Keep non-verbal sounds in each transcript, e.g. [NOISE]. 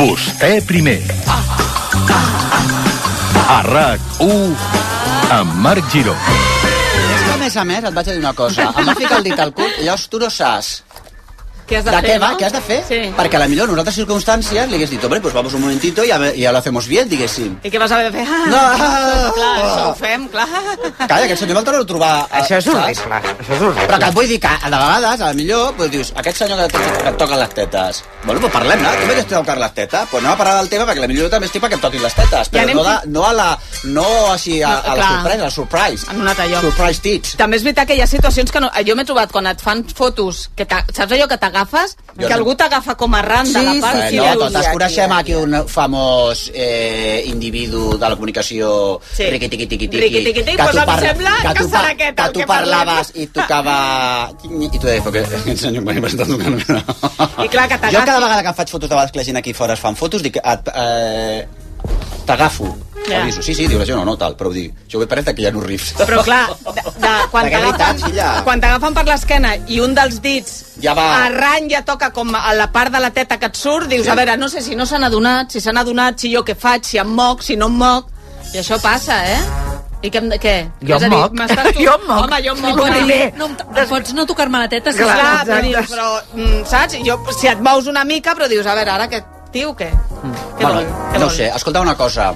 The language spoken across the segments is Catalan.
Vostè primer. A RAC1 amb Marc Giró. És que, a més a més, et vaig a dir una cosa. Em va ficar el dit al cul i llavors tu no saps Què has de, de fer, què va, no? què has de fer, Sí. perquè a la millor en unes altres circumstàncies li hagués dit, hombre, pues vamos un momentito i ja, ja lo hacemos bien, diguéssim. I què vas haver de fer? Ah, No. Oh. Clar, això ho fem, clar. Calla, aquest senyor me'l torno a trobar... eh, Això és saps? horrible. Això és horrible. Però que et vull dir que, a de vegades, a la millor, doncs dius, aquest senyor que, et- que et toca les tetes. Bueno, doncs parlem-ne, tu m'has de tocar les tetes, doncs anem a parlar del tema perquè a la millor jo també estic perquè em toquin les tetes, però anem- no, de, no a la... no així a, a la Clar. sorpresa, a la surprise. Han donat allò. Surprise tits. També és veritat que hi ha situacions que no... eh, Jo m'he trobat quan et fan fotos, que t'a- saps allò que t'agafes? Jo Que no. algú t'agafa com a ran de la Sí, part. sí, i Bueno, et- totes coneixem aquí un famós eh, individu de la comunicació Sí. sí. riqui-tiqui-tiqui-tiqui. Riqui-tiqui-tiqui, que doncs tu a mi sembla que tu serà par- aquest el que tu que parlem. parlaves i tocava... I tu deies, però que [LAUGHS] aquest senyor mai m'està tocant. I clar, que t'agafi. Jo cada vegada que em faig fotos de vegades que la gent aquí fora es fan fotos, dic... Et, eh, T'agafo. Ja. Ja. Aviso. Sí, sí, diu la gent, no, no, tal, però ho dic, jo ho he parat que hi ha uns rifs. Però clar, de, de, quan Perquè és veritat, t'agafen filla. quan t'agafen per l'esquena i un dels dits Ja va. arran ja toca com a la part de la teta que et surt, dius, Sí. a veure, no sé si no s'han adonat, si s'han adonat, si jo què faig, si em moc, si no em moc. I això passa, eh? I què? em- què? Jo És a em dir, moc. [LAUGHS] m'estàs tu- Jo em moc. Home, jo em Sí, moc. vull clar. dir, bé. No, em- pots no tocar-me la teta, Clar, sisplau. però, exacte. dius, però mm, saps? Jo, si et mous una mica, però dius, a veure, ara aquest tio què? Què Mm. Bueno, vol? Què no ho vol? sé, escolta una cosa.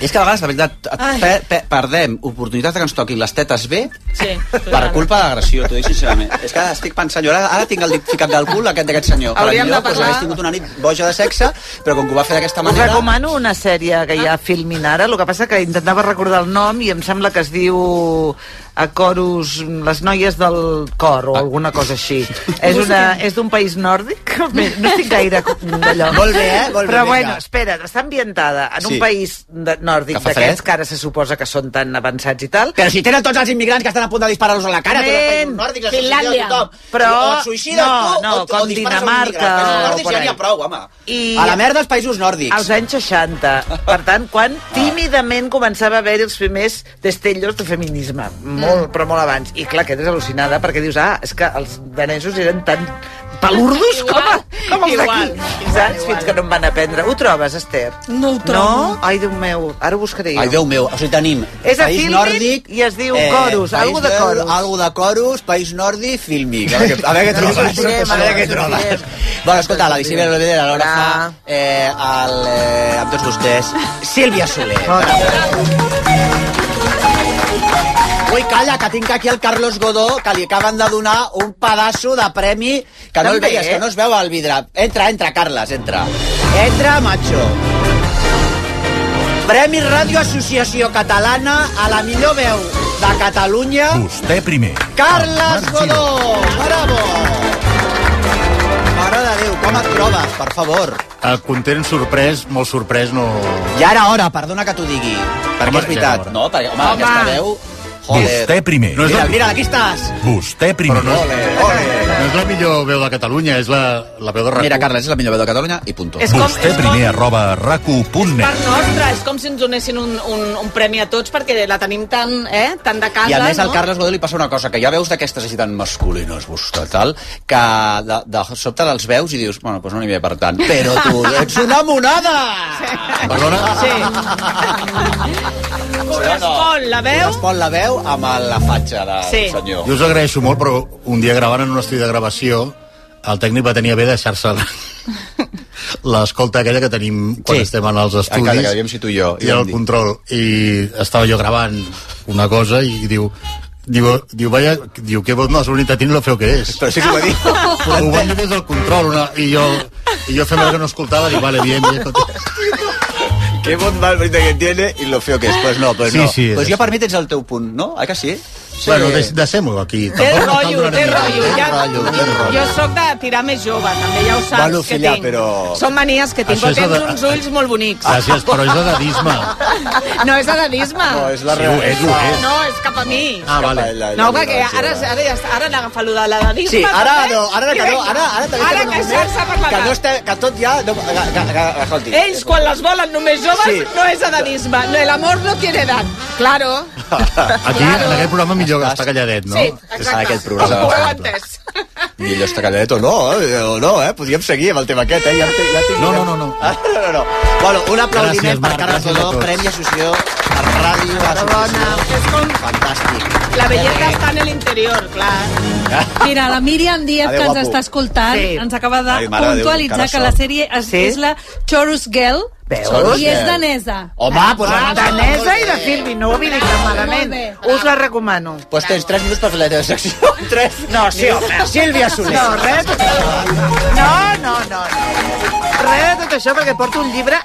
És que a vegades, de veritat, Ai. pe, pe, perdem oportunitats de que ens toquin les tetes bé Sí, per total. culpa de l'agressió, t'ho dic sincerament. És que estic pensant, jo ara, ara tinc el dit ficat del cul aquest d'aquest senyor. Per Hauríem millor, de doncs, parlar- hagués tingut una nit boja de sexe, però com que ho va fer d'aquesta Us manera... recomano una sèrie que hi ha a Filmin ara, el que passa que intentava recordar el nom i em sembla que es diu a Corus, les noies del cor o alguna cosa així. És una- és d'un país nòrdic, Bé, [LAUGHS] no estic gaire d'allò. Molt bé, eh? Molt bé, Però vinga. bueno, espera't, està ambientada en un Sí. país de- nòrdic Que fa d'aquests fred. que ara se suposa que són tan avançats i tal. Però si tenen tots els immigrants que estan a punt de disparar-los a la cara, tots els països Nen. nòrdics, els Finlàndia. suïcides tothom. Però- O et suïcides no, tu, no, o, com o dispares Dinamarca a un immigrant. o Però nòrdics per ja n'hi ha ahí. prou, home. I- A la merda els països nòrdics. als anys 60. Per tant, quan Ah. tímidament començava a haver els primers destellos de feminisme. Mm. Molt, però molt abans. I clar, quedes al·lucinada perquè dius, ah, és que els danesos eren tan palurdos com, a, com els Igual, d'aquí. igual, Saps? igual. Fins que no em van aprendre. Ho trobes, Esther? No ho trobo. No? Ai, Déu meu, ara ho buscaré jo. Ai, Déu meu, o sigui, tenim És a país Filmin nòrdic... eh, i es diu Corus, país algo de del- Corus. Algo de Corus, país nòrdic, Filmic. A veure què- a veure què No, trobes. no, no, a veure què no, trobes. no, no, Bueno, escolta, la Visibia Olvidera l'hora fa Hola. eh, el, eh, amb tots vostès Sílvia Soler. Ui, calla, que tinc aquí el Carlos Godó, que li acaben de donar un pedaço de premi que no el També, veies, eh? que no es veu al vidre. Entra, entra, Carles, entra. Entra, macho. Premi Ràdio Associació Catalana a la millor veu de Catalunya, Vostè primer. Carles Amb Marc Giró. Godó. Bravo! Mare de Déu, com et trobes, per favor? Eh, content, sorprès, molt sorprès, no... Ja era hora, perdona que t'ho digui. Home, Perquè és ja era veritat. hora. No, perquè, home, home. aquesta veu... Joder. Vostè primer. No és Mira, la, mira, aquí estàs. Vostè primer. Però no Ole, ole. no és la millor veu de Catalunya, és la, la veu de RAC1. Mira, Carles, és la millor veu de Catalunya i punto. És- com- Vostè com- primer arroba racu.net. part nostra, és com si ens donessin un, un, un premi a tots perquè la tenim tan, eh, tan de casa, I a més no? al Carles Godó li passa una cosa, que ja veus d'aquestes així tan masculines, vostè, tal, que de, de sobte els veus i dius, bueno, doncs no n'hi ve per tant. Però [LAUGHS] tu ets una monada! Perdona? Sí. [LAUGHS] no, Correspon, la veu? Correspon la veu amb la fatxa del Sí. senyor. Jo us agraeixo molt, però un dia gravant en un estudi de gravació, el tècnic va tenir a bé deixar-se la- l'escolta aquella que tenim quan Sí. sí. estem en els estudis. Encara que havíem situ jo, I ja em el dic. control. I estava jo gravant una cosa i diu... Diu, diu, vaya, diu, qué voz más bonita tiene lo feo que [LAUGHS] es. Però sí que ho va [LAUGHS] dir. Però ho van dir des del control, una, i jo, i jo fent veure que no escoltava, dic, vale, bien, bien. Qué voz más bonita que tiene y lo feo que es. Pues no, pues Sí, no. sí, és pues jo així. per mi tens el teu punt, no? Ah, que sí? Sí. Bueno, des- deixem-ho aquí. Té Tampoc no cal rotllo, donar-hi més. té rotllo. Ja, Té rotllo, té rotllo. jo sóc de tirar més jove, també ja ho saps Bueno, que filla, tinc. però- Són manies que tinc, Això però és tens de- Ah. uns ulls molt bonics. Gràcies, però és edadisme. [LAUGHS] No és edadisme. No, és la Sí, ho és, ho és. No, és cap a mi. Ah, vale. No, perquè ara, ara, ja, ara han agafat allò de l'edadisme. Sí, ara també. no, ara que I no, vinga. ara, ara també... Ara estem en un moment queixar-se per la Que no cara. està, que tot ja... No, que, que, que, escolti. Ells, quan les volen només joves, Sí. no és edadisme. No, el amor no tiene edad. Claro. Aquí, en aquest programa, millor estar calladet, no? Sí, exacte. aquest programa. Ho heu entès. I allò està calladet o no, eh? o no, eh? Podríem seguir amb el tema aquest, eh? Ja, te- ja tinc... No, no, no, no. Ah, no, no, no. Bueno, un aplaudiment Gràcies, gràcies, per Marc, Carles gràcies a Godó, tots. Premi Associació per Ràdio Associació. Fantàstic. La bellesa està en l'interior, clar. Eh, Mira, la Míriam Díaz, Adéu, que ens guapo. està escoltant, Sí. sí. ens acaba de Ai, Ai, mare de Déu, puntualitzar encara que la sort. sèrie es, Sí? sí? és la Chorus Girl Veus? i és danesa. Home, pues, Ah, doncs- danesa i de Filmi, no ho vinc tan malament. Molt Us la recomano. Pues tens 3 minuts per fer la teva secció. 3. No, sí, home. Sílvia Soler. No, res de tot això. No, no, no, no. Res de tot això perquè porto un llibre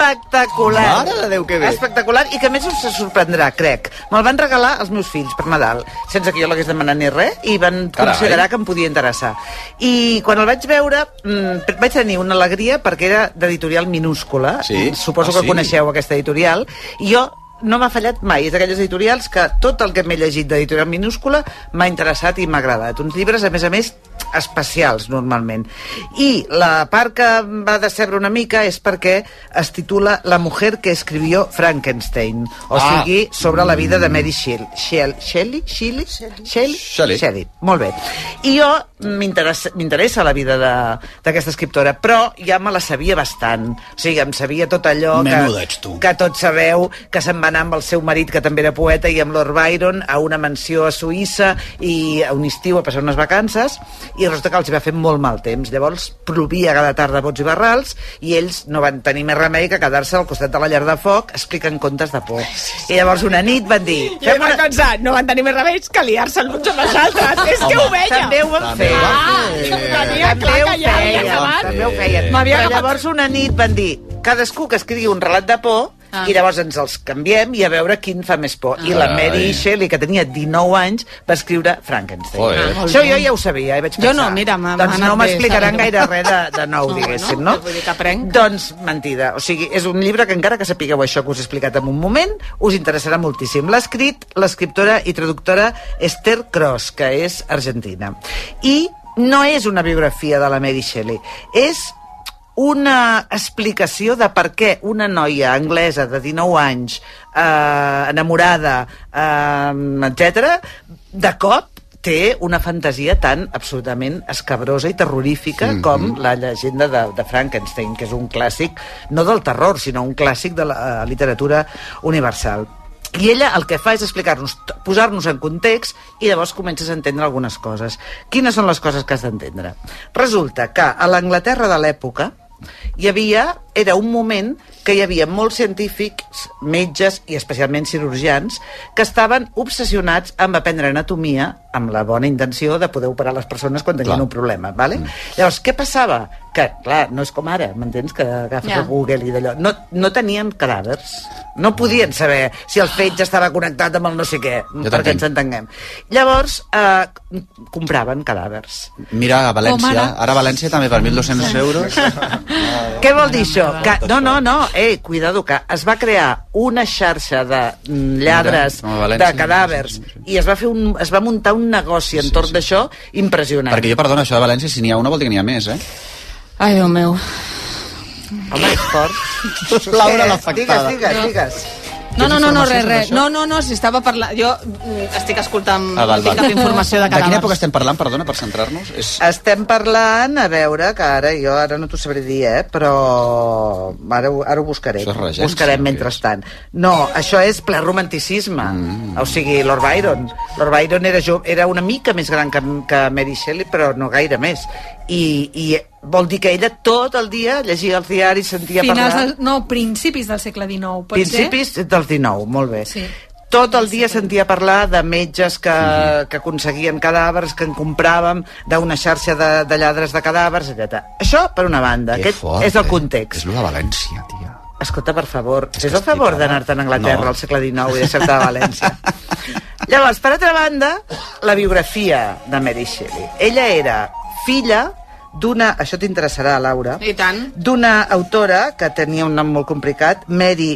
espectacular. Mare de Déu, que bé. Espectacular i que a més us sorprendrà, crec. Me'l van regalar els meus fills per Nadal, sense que jo l'hagués demanat ni res, i van Carai. considerar que em podia interessar. I quan el vaig veure mm, vaig tenir una alegria perquè era d'editorial minúscula. Sí? Suposo Ah, que sí? coneixeu aquesta editorial. I jo no m'ha fallat mai. És d'aquelles editorials que tot el que m'he llegit d'editorial minúscula m'ha interessat i m'ha agradat. Uns llibres, a més a més, especials, normalment. I la part que em va decebre una mica és perquè es titula La mujer que escribió Frankenstein, o Ah. sigui, sobre la vida de Mary Shelley. Shelley? Shelley? Shelley? Shelley? Shelley. Shelley dit. Molt bé. I jo m'interessa m'interessa la vida de- d'aquesta escriptora, però ja me la sabia bastant. O sigui, em sabia tot allò Menuda que, ets tu. que tots sabeu, que se'n va anar amb el seu marit, que també era poeta, i amb Lord Byron a una mansió a Suïssa i a un estiu a passar unes vacances, i resulta que els hi va fer molt mal temps. Llavors, plovia cada tarda a bots i barrals, i ells no van tenir més remei que quedar-se al costat de la llar de foc explicant contes de por. I llavors una nit van dir... Jo vaig pensar, no van tenir més remeis que liar-se els uns amb els altres. És que ho veia. Ah, També ho van fer. Tenia clar També ho que ja havia feien, acabat. També ho feien. M'havia Però acabat. llavors una nit van dir cadascú que escrigui un relat de por ah. Ah. i llavors ens els canviem i a veure quin fa més por. Ah. I la Mary Ai. Shelley, que tenia 19 anys, va escriure Frankenstein. Joder. Ah, Això jo ja ho sabia, eh? vaig pensar. Jo no, mira, m'ha- m'ha Doncs no anat bé, m'explicaran saber-ho. gaire res de, de nou, No, diguéssim, bueno, no? vull dir que aprenc. Doncs mentida. O sigui, és un llibre que encara que sapigueu això que us he explicat en un moment, us interessarà moltíssim. L'ha escrit l'escriptora i traductora Esther Cross, que és argentina. I no és una biografia de la Mary Shelley, és una explicació de per què una noia anglesa de 19 anys, eh, enamorada, eh, etc, de cop té una fantasia tan absolutament escabrosa i terrorífica mm -hmm. com la llegenda de, de Frankenstein, que és un clàssic, no del terror, sinó un clàssic de la eh, literatura universal. I ella el que fa és explicar-nos, t- posar-nos en context i llavors comences a entendre algunes coses. Quines són les coses que has d'entendre? Resulta que a l'Anglaterra de l'època hi havia, era un moment que hi havia molts científics, metges i especialment cirurgians que estaven obsessionats amb aprendre anatomia amb la bona intenció de poder operar les persones quan tenien Clar. Mm. un problema, ¿vale? Llavors, què passava? Que, clar, no és com ara, m'entens? Que agafes Ja. el Google i d'allò. No, no tenien cadàvers. No podien saber si el fetge estava connectat amb el no sé què, Ja perquè t'entenc. ens entenguem. Llavors, eh, compraven cadàvers. Mira, a València. Com Ara... ara. ara València també per 1.200 euros. Què vol dir això? Que, no, no, no, eh, cuidado, que es va crear una xarxa de mm, lladres, Mira, com a València. de cadàvers, i es va, fer un, es va muntar un negoci entorn d'això Ah. impressionant. Perquè jo, perdona, això de València, si n'hi ha una, vol dir que n'hi ha més, eh? Ai, Déu meu. Home, és fort. Laura Eh, l'afectada. Digues, digues, digues. No, no, no, no, informació res, sobre res. això? No, no, no, si estava parlant... Jo mm, estic escoltant... Ah, val, no tinc val. cap informació de De cadàvers. quina època estem parlant, perdona, per centrar-nos? És... Doncs Estem parlant, a veure, que ara jo ara no t'ho sabré dir, eh, però ara, ho- ara ho buscaré. Això és regència, buscarem o què mentrestant. No, això és ple romanticisme. Mm. O sigui, Lord Byron. Lord Byron era, jo, era una mica més gran que, que Mary Shelley, però no gaire més. I, I vol dir que ella tot el dia llegia els diaris, sentia Finals parlar... del, no, principis del segle XIX, pot Principis del 19, molt bé. Sí. Tot el dia sentia parlar de metges que, que aconseguien cadàvers, que en compràvem, d'una xarxa de, de lladres de cadàvers, etc. Això, per una banda, Que aquest és el context. És lo de València, tia. Escolta, per favor, És fes que el favor estic ara- d'anar-te'n a Anglaterra No. al segle XIX i deixar-te a [LAUGHS] València. Llavors, per altra banda, la biografia de Mary Shelley. Ella era filla d'una... Això t'interessarà, Laura I tant. d'una autora que tenia un nom molt complicat, Mary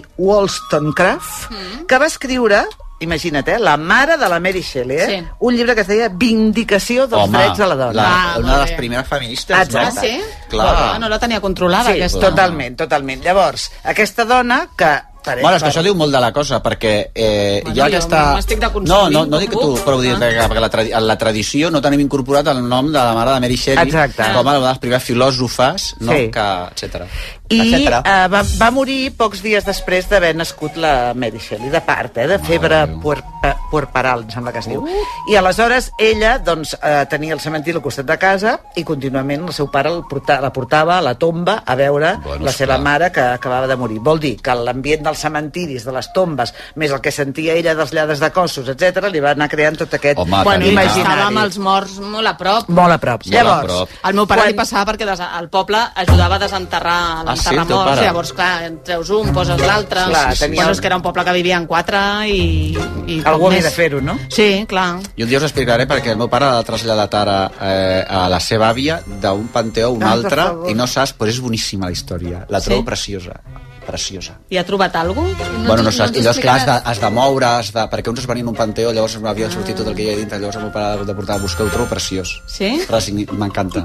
Wollstonecraft, mm. que va escriure imagina't, eh, la mare de la Mary Shelley, eh? Sí. un llibre que es deia Vindicació dels drets de la dona. La, Ah, una de molt les bé. primeres feministes, Ah, Exacte. no? sí? Clar. tota Ah, no la tenia controlada, sí, aquesta. totalment, totalment. Llavors, aquesta dona que Per, Bueno, és que això diu molt de la cosa, perquè eh, Bueno, hi ha jo aquesta... m'estic de No, consumir no, un no dic que tu, cucut, però vull dir ah. que la, tradi la tradició no tenim incorporat el nom de la mare de Mary Shelley Exacte. com a una de les primeres filòsofes, no? Sí. Que, etcètera. I Etcètera. eh, va, va morir pocs dies després d'haver nascut la Mary Shelley, de part, eh, de febre puerpa- puerperal, em sembla que es diu. Uh. I aleshores ella doncs, eh, tenia el cementiri al costat de casa i contínuament el seu pare el porta, la portava a la tomba a veure Bueno, la seva esclar. mare que acabava de morir. Vol dir que l'ambient dels cementiris, de les tombes, més el que sentia ella dels lladres de cossos, etc li va anar creant tot aquest Home, bueno, Caterina. estava imaginari. amb els morts molt a prop. Molt a prop. Molt a Llavors, prop. El meu pare quan- li passava perquè des, el poble ajudava a desenterrar Ah, sí, el l'enterrar teu morts. pare? Llavors, clar, en treus un, poses l'altre. Clar, tenia- Bueno, és que era un poble que vivia en quatre i... i poc Algú havia més. de fer-ho, no? Sí, clar. I un dia us explicaré perquè el meu pare l'ha traslladat ara eh, a la seva àvia d'un panteó a un Ah, per altre favor. i no saps, però és boníssima la història. La trobo Sí? preciosa. Preciosa. I ha trobat alguna cosa? No bueno, no t'ho- saps, no no t'ho llavors, clar, has de, explicaràs. has de moure, has de, perquè uns es venien un panteó, llavors m'havia sortit tot el que hi havia dintre, llavors el meu pare l'ha de portar a buscar, ho trobo preciós. Sí? Resigni- [LAUGHS] M'encanta.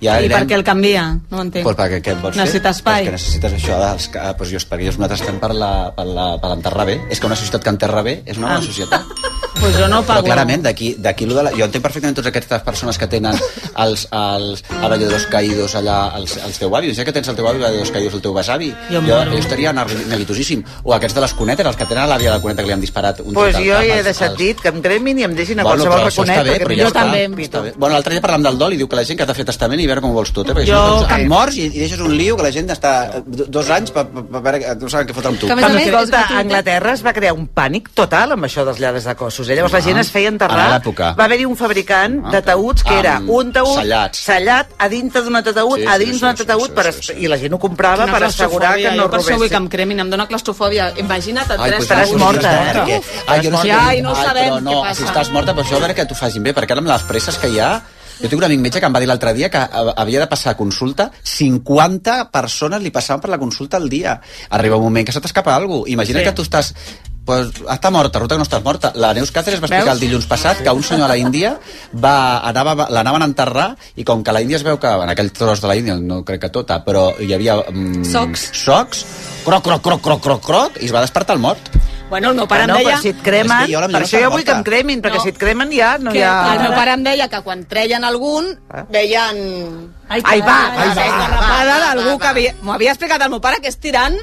I per què el canvia? No ho entenc. Pues perquè què et vols Necessita fer? espai. És que necessites això dels... que- Ah, pues jo, perquè nosaltres estem per la- per la- per l'enterrar bé. És que una societat que enterra bé és una bona Ah. societat. pues jo no Però pago. clarament, d'aquí d'aquí lo de la... Jo entenc perfectament totes aquestes persones que tenen els, els avalladors caïdos allà, els, els teu avis. Ja que tens el teu avi, avalladors caïdos, el teu besavi. Jo em jo, moro. jo estaria nervi- nerviosíssim. O aquests de les cunetes, els que tenen a l'àvia de la cuneta que li han disparat un Pues tret al jo cap, ja he els- deixat els- dit que em cremin i em deixin a Bueno, qualsevol però això raconet. està bé, perquè però m'hi ja jo està. està. també. Està bé. Bueno, l'altre dia parlàvem del dol i diu que la gent que t'ha fet testament i veure com ho vols tot, eh? Perquè Jo si no, cap- cap... morts i, i deixes un lío que la gent està eh, do- dos anys per, per, per veure que no saben què fotre amb tu. Que a més a També, més, escolta, és gratuït, a eh? Anglaterra es va crear un pànic total amb això dels lladres de cossos. Eh? Llavors la Ah, gent es feia enterrar. a l'època. Va haver-hi un fabricant Ah. d'ataüts que era Amb un taüt sellats. sellat a dintre d'un altre taüt, Sí, a sí, dins sí, d'un altre sí, taüt, sí, per sí, es- sí. i la gent ho comprava per assegurar que no robessin. Per això vull que em robessin. Ah, cremin, em dóna claustrofòbia. Imagina't, a Ai, tres pues ara estaràs sí, morta, estàs eh? perquè- Uf, Ai, jo no sé estaràs morta. què dir. Ai, no Ai, sabem però no, què passa. Si estàs morta, però això a veure que t'ho facin bé, perquè ara amb les presses que hi ha... Jo tinc un amic metge que em va dir l'altre dia que eh, havia de passar a consulta, 50 persones li passaven per la consulta al dia. Arriba un moment que se t'escapa alguna cosa. Imagina't Sí. sí. que tu estàs Pues, està morta, resulta que no estàs morta. La Neus Cáceres va explicar Veus? el dilluns passat que un senyor a la Índia va, anava, va- l'anaven a enterrar i com que a la Índia es veu que en aquell tros de la Índia, no crec que tota, però hi havia mm, Socs. socs, croc, croc, croc, croc, croc, croc, i es va despertar el mort. Bueno, el meu pare Però Ah, no, em deia... però si et cremen, És que jo la per millor això jo vull s'emporta. que em cremin, perquè No. si et cremen ja Ah. no Que hi ha... El meu pare em deia que quan treien algun, veien... Ai, Ai, va, carai, ai, va, la va, Rapada va, d'algú que havia... M'ho havia explicat el meu pare, que és tirant...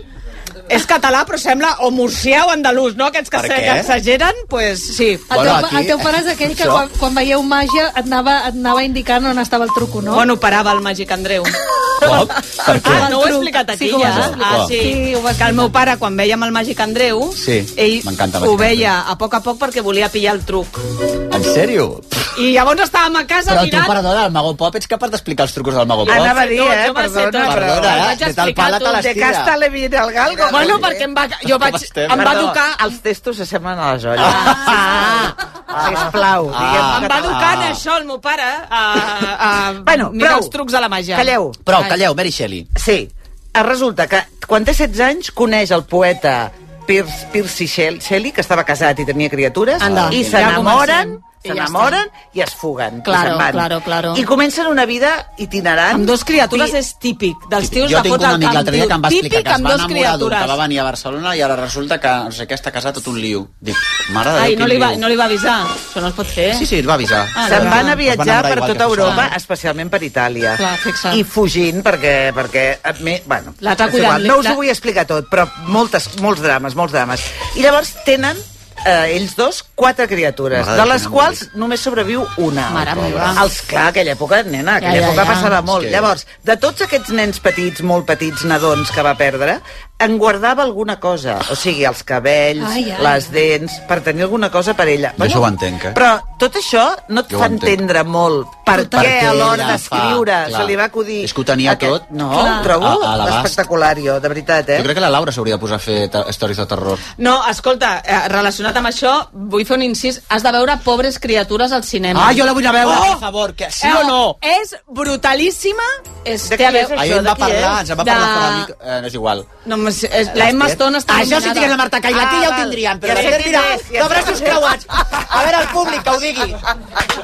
És català, però sembla o murcià o andalús, no? Aquests que, Per se- què? que exageren, pues, sí. El Bueno, teu, aquí- el teu pare és aquell que això- quan, quan veieu màgia et anava, et anava indicant on estava el truco, no? No? On operava el màgic Andreu? Com? Per què? Ah, no ho he Truc. explicat aquí, Sí que ho ja. has explicat. Ah, sí. Sí, ho vas que el meu pare, quan vèiem el màgic Andreu, Sí, ell m'encanta el ho Màgic veia a poc a poc perquè volia pillar el truc. En sèrio? I llavors estàvem a casa Però tu, mirant... perdona, el Mago Pop, ets capaç d'explicar els trucos del Mago Pop? Anava a dir, No, jo eh? va ser Perdona, tot. però... Perdona, Vaig eh? Des del explicar pala te tu, De l'estira. casta le viene al galgo. Bueno, perquè em va, jo vaig, Ah, estem? em va Perdó, tocar... Els testos se semblen a les olles. Ah, ah, sisplau, Ah. diguem Em Em va català. educar en això el meu pare a, a, Bueno, mirar prou. els trucs de la màgia. Calleu. Prou, calleu, Mary Shelley. Sí. Eh, Resulta que quan té 16 anys coneix el poeta Pierce, Percy Shell- Shelley, que estava casat i tenia criatures, Anda. i Ja s'enamoren, comencem. I ja s'enamoren i es fuguen. Claro, i se'n van. claro, claro. I comencen una vida itinerant. Amb dos criatures I- és típic. Dels tios jo de tinc un fotre al amic camp. l'altre dia que em va diu, explicar típic que es amb va dos enamorar d'un que va criatures. venir a Barcelona i ara resulta que no sé què està casat tot un liu. Dic, mare de Déu, Ai, no quin li, va, liu. no li va avisar. Això no es pot fer. Sí, sí, el va avisar. Ah, Se'n no. van a Es viatjar enamorar per igual tota que Europa, Clar. especialment per Itàlia. Clar, fixa't. I fugint, perquè... perquè a mi, bueno, L'altre és cuidant- igual, no us la- ho vull explicar tot, però moltes, molts drames, molts drames. I llavors tenen, eh, ells dos, quatre criatures, Mare, de les quina quals només sobreviu una. Mare meva. Els, clar, aquella època, nena, aquella Ja, ja, ja. època passava molt. És que- Llavors, de tots aquests nens petits, molt petits, nadons que va perdre, en guardava alguna cosa. O sigui, els cabells, Ai, ai. les dents, per tenir alguna cosa per ella. Jo això ho entenc, eh? Però tot això no et Jo ho fa entenc. entendre molt per Tot què perquè a l'hora la d'escriure fa, clar. se li va acudir... És que ho tenia tot, No, clar. ho trobo a- a l'abast. espectacular, jo, de veritat, eh? Jo crec que la Laura s'hauria de posar a fer ta- històries de terror. No, escolta, eh, relacionat amb això, vull fer un incís. Has de veure Pobres criatures al cinema. Ah, jo la vull anar a veure, Oh! per favor, que sí o no? És brutalíssima. És, De té a qui és veure- això? Ahir en va de qui parlar, és? ens en va Oh! De- parlar fora de mic... Eh, no és igual. No, home, és, és, la Emma Stone està Ah, Això si nominada. tingués la Marta Cailatí Ah, ja ho val. tindríem, Ja però sé la Esther quin dirà, és, ja de sé braços quin és." creuats. A veure el públic que ho digui.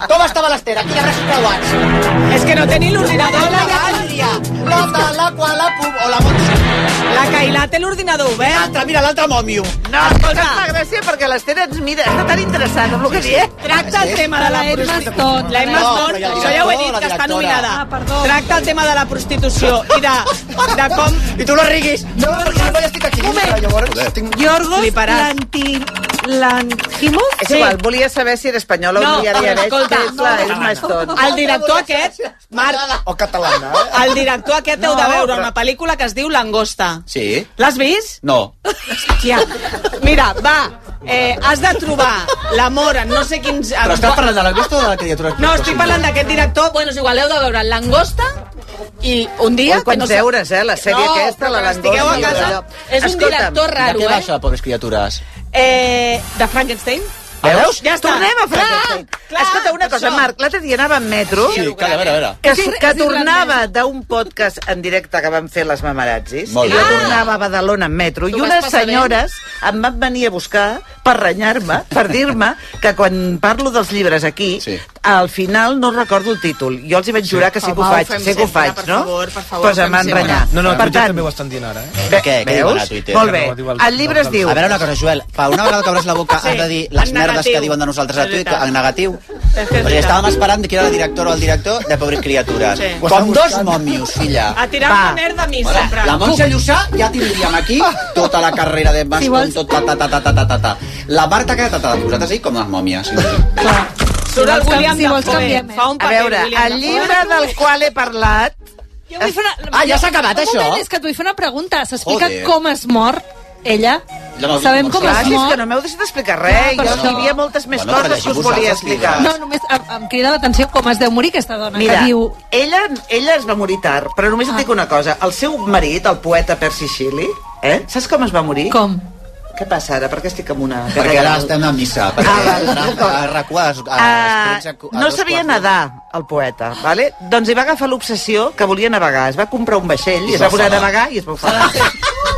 Com estava l'Esther? Aquí de braços creuats. És que no té ni il·lusionador. Ja ho diria. Laia, l'altra, la qual, la pum... O la mòmia. La Cailà té l'ordinador obert. L'altra, mira, l'altra mòmio. No, escolta, em fa gràcia perquè l'Esther ens mira. Està tan interessant amb el que diem. Tracta Ah, el tema de la La Emma prostitució. Stone. La Emma No, Stone, però ja la això ja ho he dit, directora, que està la directora. nominada. Ah, perdó. Tracta el tema de la prostitució i de, de com... I tu no riguis. No, perquè jo ja estic aquí. Moment. Moment. Llavors, tinc... Yorgos Fliparàs. Lanti... Lantimos? És igual, volia saber si era espanyola No, o diària. però escolta, és, la, és no, més tot. El director aquest, Marc, O catalana, eh? el director aquest no, heu de veure una pel·lícula que es diu Langosta. Sí. L'has vist? No. Hòstia. Mira, va, eh, has de trobar l'amor en no sé quins... Però estàs parlant de l'angosta o de la criatura? No, estic parlant d'aquest director. Bueno, és igual, heu de veure Langosta i un dia... Ui, quants sap- deures, eh, la sèrie no, aquesta, però la quan estigueu a Langosta, casa, allò. és un Escolta'm, director Raro, raro, de què va eh? això, pobres criatures? eh? De Frankenstein? Veus? Ja està. Tornem a Frankenstein. Clar, clar, Escolta, una cosa, això. Marc, l'altre dia anava en metro... Sí, calla, a veure, a veure. que, Sí, que sí, tornava d'un podcast en directe que van fer les mamarazzis Molt i bé. jo Ah! tornava a Badalona en metro Tu i vas unes passar bé? senyores em van venir a buscar per renyar-me, per dir-me que quan parlo dels llibres aquí, Sí. al final no recordo el títol. Jo els hi vaig jurar que sí que ho Home, ho faig, fem sé que ho sempre, faig, per no? favor, per favor, pues ho em fem van sempre. renyar. No, no, per tu ja tant, també ho estan dient ara, eh? Què, què diuen veus? a Twitter? Molt Que no, diu bé. el- El llibre es el- diu... A veure una cosa, Joel, fa una vegada que obres la boca Sí, has de dir en les merdes negatiu. que diuen de nosaltres a És tu i que- veritat. en negatiu. És que és O sigui, veritat. estàvem esperant que era la directora o el director de Pobres Criatures. Sí. Com dos mòmios, filla. A tirar Va. una merda a mi, Hola, sempre. la Montse Llussà ja tindríem aquí tota la carrera de Si Maston, vols- tot ta ta ta ta ta ta ta ta. La Marta que ha de vosaltres sí, com les mòmies. Clar. Surt el William si vols Dafoe. canviem, eh? Fa un A paper, veure, William el Dafoe. llibre del qual he parlat... Jo vull fer una... Ah, ja s'ha acabat, Un això? Moment, és que et vull fer una pregunta. S'explica Joder. com es mor ella? Ja m'has dit Sabem com com es es Clar, si és mor. que no m'heu deixat explicar Clar, res. per Jo això. hi havia moltes més Bueno, però coses que us volia llegim vosaltres els explicar. llibres. No, només em, em crida l'atenció com es deu morir aquesta dona, Mira, que diu... ella, ella es va morir tard, però només et dic una cosa. El seu marit, el poeta Percy Shelley, eh? saps com es va morir? Com? Què passa ara? Per què estic amb una... Perquè ara estem a missa, perquè Ah, val. a RAC1 a- a- a- Ah, a- a- no sabia nadar, el poeta, vale? doncs hi va agafar l'obsessió que volia navegar. Es va comprar un vaixell I i es va va posar a ofegar. navegar i es va ofegar.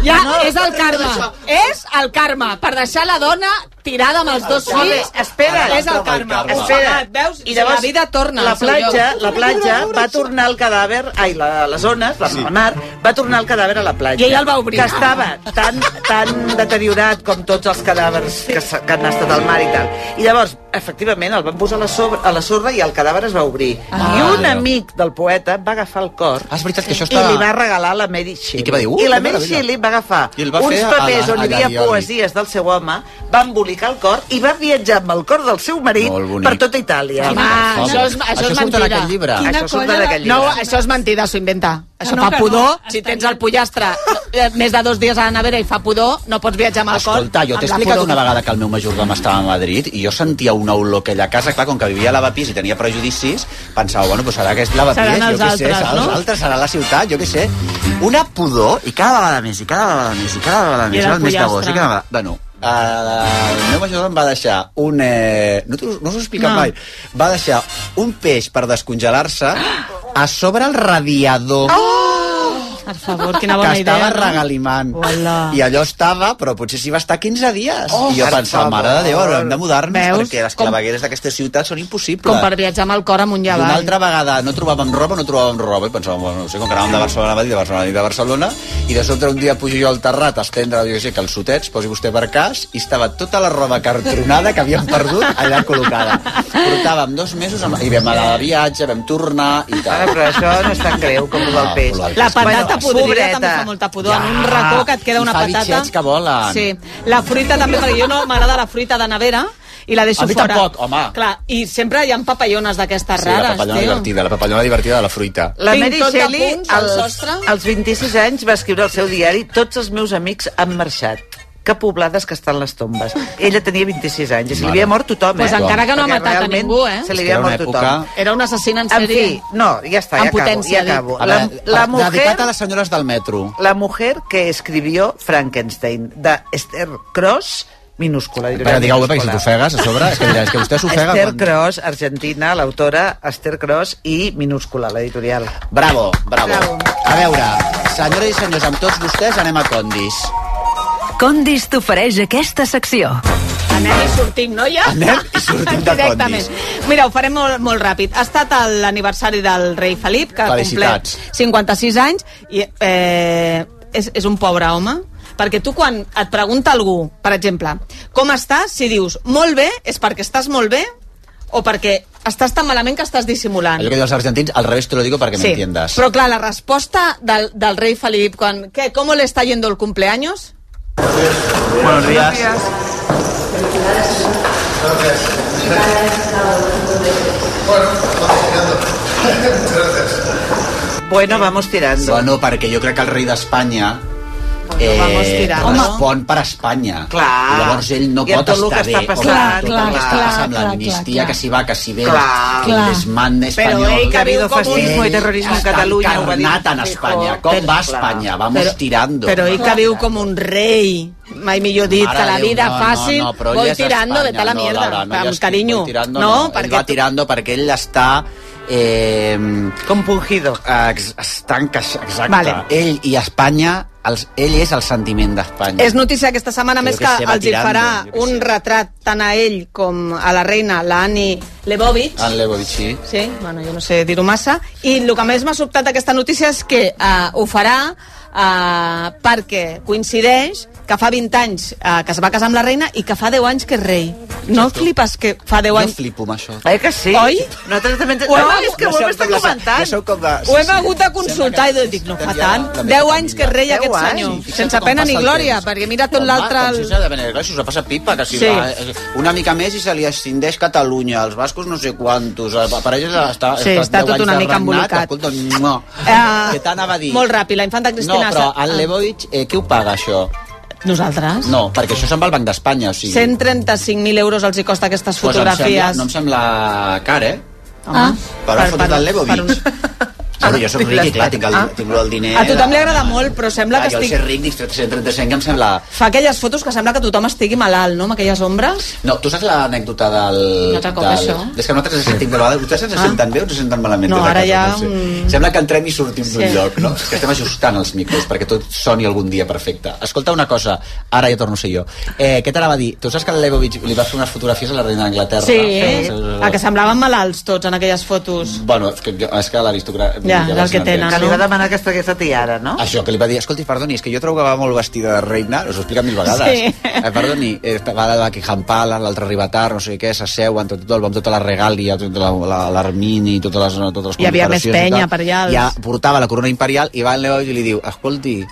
Ja, Ah, és el karma. És el karma. Per deixar la dona tirada amb els dos Molt bé, fills. espera. És el karma. Home. Espera, Home, et veus? I llavors, la vida torna. La al seu platja, lloc. la platja va tornar el cadàver, ai, la, les ones, la, sí. la mar, va tornar el cadàver a la platja. I ell el va obrir. Que estava tan, tan deteriorat com tots els cadàvers que, s'ha- que han estat al mar i tal. I llavors, efectivament, el van posar a la, sobre, a la sorra i el cadàver es va obrir. Ah. I un amic del poeta va agafar el cor Ah, és veritat que això i li va està... regalar la Mary Shelley. I què va dir? Uh, I la que Mary meravella. Shelley va agafar I el va uns fer a papers la- on a hi havia l'Ariadna. poesies del seu home, va embolicar el cor i va viatjar amb el cor del seu marit Molt bonic. per tota Itàlia. Home, Home, Ah, això és, això això és surt en mentida. aquell llibre. Quina Això surt colla en de- aquell No, llibre. això és mentida, s'ho inventa. Això No, fa que pudor. no, Si està tens bé. el pollastre eh, més de dos dies a la nevera i fa pudor, no pots viatjar amb el cor. Escolta, jo amb t'he la explicat pudor. una vegada que el meu majordom estava a Madrid i jo sentia una olor que allà a casa, clar, com que vivia a lavapís i tenia prejudicis, pensava, bueno, doncs serà aquest lavapís, Seran els jo què sé, altres, serà no? els altres, serà la ciutat, jo què sé. Una pudor, i cada vegada més, i cada vegada més, i cada vegada I més, era el mes d'agost, pollastre. i cada vegada... Bueno, eh, el meu majordom va deixar un... Eh, no t'ho- no us ho he explicat No. mai. Va deixar un peix per descongelar-se a sobre el Ah! radiador. Oh! Per favor, quina que bona idea. estava no? regalimant. Hola. I allò estava, però potser s'hi va estar 15 dies. Oh, I jo per pensava, favor. mare de Déu, haurem de mudar-nos, Veus? perquè les Com- clavegueres d'aquestes ciutats són impossibles. Com per viatjar amb el cor amunt i I una avall. altra vegada no trobàvem roba, no trobàvem roba, i pensàvem, bueno, no sé, com que anàvem de Barcelona a Madrid, de Barcelona a Madrid, de Barcelona, i de sobte un dia pujo jo al terrat a estendre, jo sé, calçotets, posi vostè per cas, i estava tota la roba cartronada que havíem perdut allà col·locada. Portàvem dos mesos, amb... i vam anar de viatge, vam tornar, i Ara, tal. però això no és tan greu com el del Ah, peix. però el- La patata Bueno, podrida pobreta. també fa molta pudor. Ja. En un racó que et queda I una fa patata... bitxets que volen. Sí. La fruita també, perquè jo no m'agrada la fruita de nevera i la deixo A mi fora. tampoc, home. Clar, i sempre hi ha papallones d'aquestes Sí, la rares, papallona tio. divertida, la papallona divertida de la fruita. La Tinc Mary tot de Shelley, punts al als, sostre. als 26 anys, va escriure al seu diari Tots els meus amics han marxat. Que poblades que estan les tombes. Ella tenia 26 anys i se li Mare. havia mort tothom, eh? Pues encara que no ha Perquè matat a realment ningú, eh? Se li Era havia una mort època- tothom. Era un assassina en En sèrie. fi, no, ja està, En ja acabo, potència, ja acabo. A La, veure, la, mujer, Dedicat a les senyores del metro. la mujer que escribió Frankenstein, de Esther Cross, minúscula. diré Espera, digueu-ho, perquè si minúscula. t'ofegues a sobre, és que diràs que vostè s'ofega... Esther quan- Cross, argentina, l'autora Esther Cross i minúscula, l'editorial. Bravo, bravo, Bravo. A veure, senyores i senyors, amb tots vostès anem a Condis. Condis t'ofereix aquesta secció. Anem i sortim, no, ja? Anem i sortim de [LAUGHS] Directament. Mira, ho farem molt, molt ràpid. Ha estat el- l'aniversari del rei Felip, que ha Felicitats. complert 56 anys, i eh, és, és un pobre home, perquè tu quan et pregunta algú, per exemple, com estàs, si dius molt bé, és perquè estàs molt bé o perquè estàs tan malament que estàs dissimulant. Allò que diuen els argentins, al revés te lo digo para que me entiendas. Però clar, la resposta del, del rei Felip quan... Què, com le está yendo el cumpleaños? Buenos días. Bueno, vamos tirando. Bueno, perquè jo crec que el rei d'Espanya vamos tirando. respon per Espanya. Clar. Llavors ell no I amb pot tot el estar que està bé. home, passant. amb tot Clar, el que clar, està clar, passant, clar, l'amnistia, clar. que si va, que si ve, Clar. el desmande espanyol... ell que Que ha habido viu com un- fascismo y terrorismo en Està Cataluña. ho va dir encarnat en Feijó. Espanya. Com va Clar. Espanya? Vamos Però- tirando. Però ell que viu com un rei, mai millor dit, Mare que la de Déu, vida no, fàcil, no, no, però ell vol és tirando, d'Espanya. vete a la No, mierda, Laura, no, ja amb estic, carinyo. Voy tirando, no, ell va tu- tirando perquè ell està... Eh, Compungido. Ex- Estan encaix... Exacte. Vale. Ell i Espanya, els, ell és el sentiment d'Espanya. És notícia aquesta setmana, Jo més que que, sé, va els hi tirando, farà jo que un sé. retrat tant a ell com a la reina, la Annie Lebovich. En Lebovici. Sí, bueno, jo no sé dir-ho massa. I el que més m'ha sobtat d'aquesta notícia és que eh, ho farà eh, perquè coincideix que fa 20 anys eh, que es va casar amb la reina i que fa 10 anys que és rei. No flipes que fa 10 Jo anys... flipo amb això. Oi ¿eh que sí? Oi? Nosaltres també... Ho hem, No, és que ho hem estat Ja comentant. sou com de... Ho hem hagut de consultar i dic, no fa tant. 10 anys que és rei Deu aquest anys. senyor, Sí, sense pena ni glòria, perquè mira tot l'altre... Com si el- s'ha de venir, clar, si us la passa pipa, que si Sí. sí. va, eh, una mica més i se li ascindeix Catalunya, els bascos no sé quantos, apareixes està, Sí, està, està tot una mica embolicat. Escolta, no. Eh, Què t'anava a dir? Molt ràpid, la infanta No, Cristina... Ah. però s'ha- en Lebovic, eh, qui ho paga, això? Nosaltres? No, perquè això se'n va al Banc d'Espanya, o sigui... 135.000 euros els hi costa aquestes Pues em sembla, fotografies. no em sembla car, eh? Ah. Però has fotut el Lebovic. [LAUGHS] per un- Ah, jo sóc ric i clar, tinc el, Ah. tinc el diner... A tothom li agrada molt, però sembla Clar, que jo estic... estic... Jo ser ric, dic 335, que em sembla... Fa aquelles fotos que sembla que tothom estigui malalt, no?, amb aquelles ombres. No, tu saps l'anècdota del... No t'acopa, del... això. Ah. És que nosaltres ens sentim de vegades... Vostès ens senten bé o ens senten malament? No, des de ara casa? ja, sé. mm. Sembla que entrem i sortim d'un Sí. lloc, no? És que estem ajustant els micros perquè tot soni algun dia perfecte. Escolta una cosa, ara ja torno a ser jo. Eh, què t'anava a dir? Tu saps que el Leibovitz li va fer unes fotografies a la reina d'Anglaterra? Eh, Sí, a que semblaven malalts tots en aquelles fotos. Bueno, és que, jo- és que l'aristocràcia... Ja, és el vas que entendre. tenen. Que li va demanar aquesta, aquesta tiara, no? Això, que li va dir, escolti, perdoni, és que jo trobo que va molt vestida de reina, us ho explica mil vegades. Sí. Eh, perdoni, eh, va de Buckingham Palace, l'altre arriba tard, no sé què, s'asseuen, tot, tot, amb tota la regàlia, tota la- la- l'Armini, la, totes les, totes les Hi havia més condecoracions i penya tal. per allà, els- Ja portava la corona imperial i va en Leo i li diu, escolti,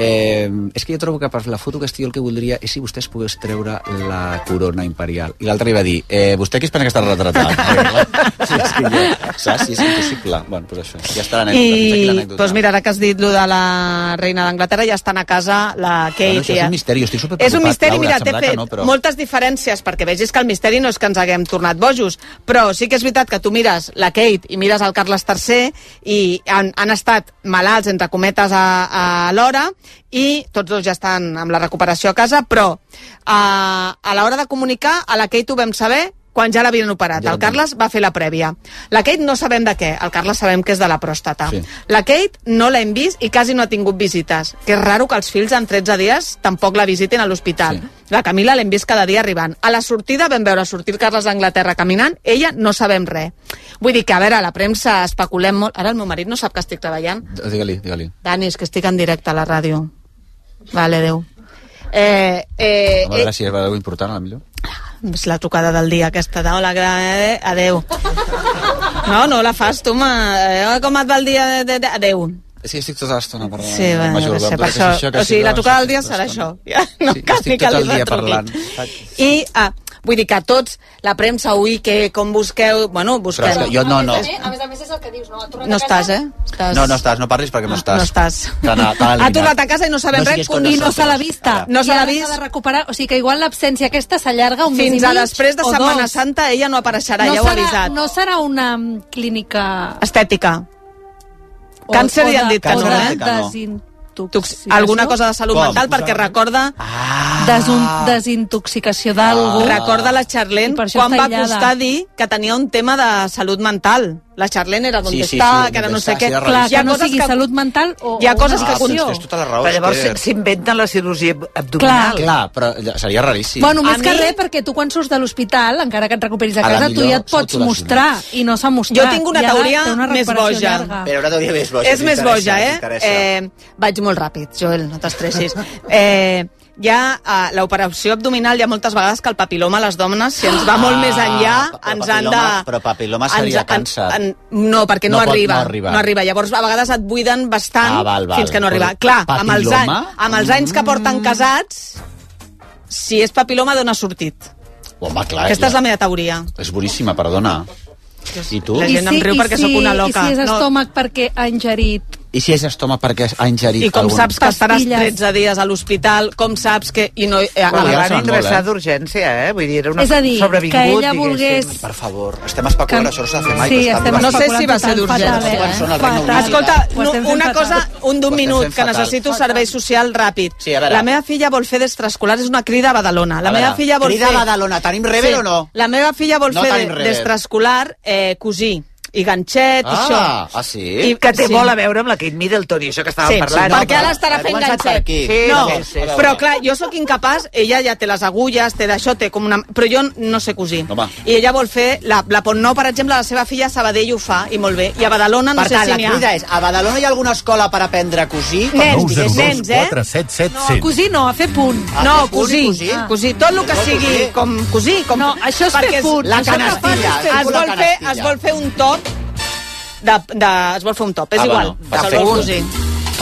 Eh, és que jo trobo que per la foto que estic jo el que voldria és si vostès pogués treure la corona imperial. I l'altre li va dir, eh, vostè qui es pensa que està [LAUGHS] retratant? sí, és que jo, saps? Sí, és impossible. Bueno, doncs això, ja està l'anècdota. fins aquí I, l'anècdota. doncs mira, ara que has dit lo de la reina d'Anglaterra, ja estan a casa la Kate. Bueno, això és un misteri, jo estic superpreocupat, És un misteri, Laura, mira, em t'he sembla que fet no, no, però... però- moltes diferències, perquè vegis que el misteri no és que ens haguem tornat bojos, però sí que és veritat que tu mires la Kate i mires el Carles III i han, han estat malalts, entre cometes, a, a l'hora, i tots dos ja estan amb la recuperació a casa, però a, a l'hora de comunicar, a la Kate ho vam saber quan ja l'havien operat. Ja El ho vam- Carles Carles va fer la prèvia. La Kate no sabem de què, el Carles sabem que és de la pròstata. Sí. Sí. La Kate no l'hem vist i quasi no ha tingut visites, que és raro que els fills en 13 dies tampoc la visitin a l'hospital. Sí. Sí. La Camila l'hem vist cada dia arribant. A la sortida vam veure sortir el Carles d'Anglaterra caminant, ella no sabem res. Vull dir que, a veure, la premsa especulem molt... Ara el meu marit no sap que estic treballant. Digue-li, digue-li. Dani, és que estic en directe a la ràdio. Vale, adéu. Eh, eh, A veure si és veu important, a la millor. és la trucada del dia aquesta de hola, gra- eh, adeu. No, no la fas tu, ma. Eh, com et va el dia? De, de, de, adeu. Sí, estic tota l'estona parlant. Sí, bueno, Major, no sé, em per toca això. que o sigui, que la trucada del estic dia tota serà això. l'estona. Ja, no Sí, cal ni estic que tot li el dia retruquin. parlant. I ah, vull dir que tots, la premsa, ui, que com busqueu... Bueno, Però és busquem... que jo no, no. A més a més és el que dius, no? Ha tornat No a casa- estàs, eh? Estàs... No, no estàs, no parlis perquè no estàs. No estàs. T'han- t'han Ha eliminat. tornat a casa i no sabem res. siguis con I no nosotros. se l'ha vista. Ara. No se I l'ha ara vist. de recuperar. O sigui que igual l'absència aquesta s'allarga un mes i Fins mig a després de o Setmana dos. Santa ella no apareixerà, no ja ho serà, ha avisat. No serà una mm, clínica... Estètica. Càncer o li han de- dit que o no, de eh? Tox- Desintoxicació. Alguna cosa de salut Com? Ah. mental perquè recorda Desun, desintoxicació d'algú. Ah. Recorda la I Charlene per això quan està va aïllada. costar dir que tenia un tema de salut mental. la Charlene era d'on Sí, sí, sí, sí, està, sí, que ara d'on no està, sé sí, què. de Clar, Hi que ha no sigui salut mental o, hi ha o coses una que addició. tens tota la raó. Però llavors Esther. s'inventen la cirurgia abdominal. Clar, però ja- seria raríssim. Bueno, més A que mi- res, perquè tu quan surts de l'hospital, encara que et recuperis a A la casa, tu millor ja et pots s'autolesionar. mostrar, i no s'ha mostrat. Jo tinc una I ara teoria té una més recuperació boja. llarga. Però una teoria més boja. És més boja, t'interessa, eh? t'interessa. eh? Vaig molt ràpid, Joel, no t'estressis. Eh, hi ha eh, l'operació abdominal, hi ha moltes vegades que el papiloma a les dones, si ens va molt Ah, més enllà, però ens han de... papiloma- però papiloma seria càncer. no, perquè no, No pot arriba. no arribar. no arriba. Llavors, a vegades et buiden bastant Ah, val, val. fins que no arriba. Però Clar, amb els, papiloma? Mm. anys, amb els anys que porten casats, si és papiloma, d'on ha sortit? Ah, Home, clar, Aquesta és la meva teoria. És boníssima, perdona. I tu? La I gent em riu i perquè sóc una loca. I si és No. estómac perquè ha ingerit... I si és estoma perquè ha I ingerit com algun... saps que estaràs Pastilles. 13 dies a l'hospital, com saps que... I no, eh, Però Bueno, la ja van saben molt, ingressar eh? d'urgència, eh? Vull dir, era una és a dir, que sobrevingut, ella volgués... diguéssim. Per favor, estem especulant, que- això no s'ha de fer mai. Sí, però està estem molt- No sé especulant si va ser total, d'urgència, fatal, eh? quan són al Regne Unit. Fatal. Ho Escolta, no, estem fent una fatal. cosa, un d'un Ho estem minut, fent que fatal. necessito servei social ràpid. Sí, a veure. La meva filla vol fer d'extraescolar, és una crida a Badalona. La A meva veure, filla vol crida fer... a Badalona, tenim rebel o no? La meva filla vol No fer de- tenim rebel. d'extraescolar eh, cosir i ganxet, i això. Ah, ah, sí? I- Que té Sí. molt a veure amb la Kate Middleton i això que estàvem Sí, parlant. perquè ara estarà Ha fent començat per ganxet. aquí. Sí, no, sí, sí, sí. però clar, jo sóc incapaç, ella ja té les agulles, té d'això, té com una... Però jo no sé cosir. Home. I ella vol fer la, la Pont Nou, per exemple, la seva filla a Sabadell ho fa, i molt bé. I a Badalona no per sé tant, si la n'hi ha. crida és, a Badalona hi ha alguna escola per aprendre a cosir? Nens, nens, eh? 477 No, cosir no, a fer punt. No, Ah, fer cosir, punt i cosir. cosir, Tot el que Però sigui cosir. com cosir. Com... No, això és perquè fer punt. La Això que fas és canastilla, fer és Es punt. una vol, fer, canastilla. es vol fer un top de, de, es vol fer un top, és Ah, igual. bueno, Bueno, perfecte. cosir.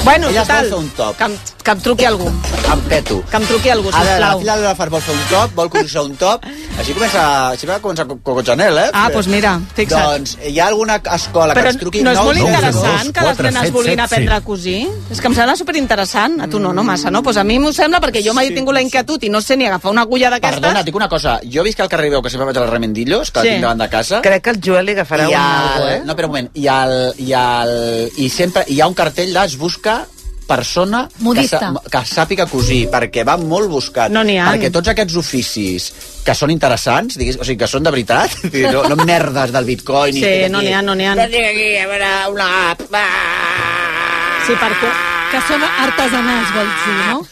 Bueno, Ella es vol total, fer un top. que, em, que em truqui algú. Em peto. Que em truqui algú, Ara, la sisplau. fila de la Far vol fer un top, vol cosir un top. Així comença, així va començar Coco Chanel, eh? Ah, doncs mira, fixa't. Doncs hi ha alguna escola que Però ens truqui... no és nou- molt nou- interessant dos, que les quatre, nenes set, vulguin set, aprendre sí. a cosir? És que em sembla superinteressant. A tu no, no massa, no? Pues a mi m'ho sembla perquè jo mai he tingut la inquietud i no sé ni agafar una agulla Perdona, d'aquestes. et dic una cosa. Jo visc al carrer Veu, que sempre vaig als Remendillos, que Sí. la tinc davant de casa. Crec que el Joel li agafarà I un al, algo, eh? No, però un moment. I, al, i, al, I sempre hi ha un cartell de es busca persona que, Modista. sa- que sàpiga cosir, perquè va molt buscat. No n'hi ha. Perquè tots aquests oficis que són interessants, diguis, o sigui, que són de veritat, [LAUGHS] no, no merdes del bitcoin... Sí, i no n'hi ha, no n'hi ha. aquí, a veure, una app... Ah! Va. Sí, per co- que són artesanals, vols dir, no?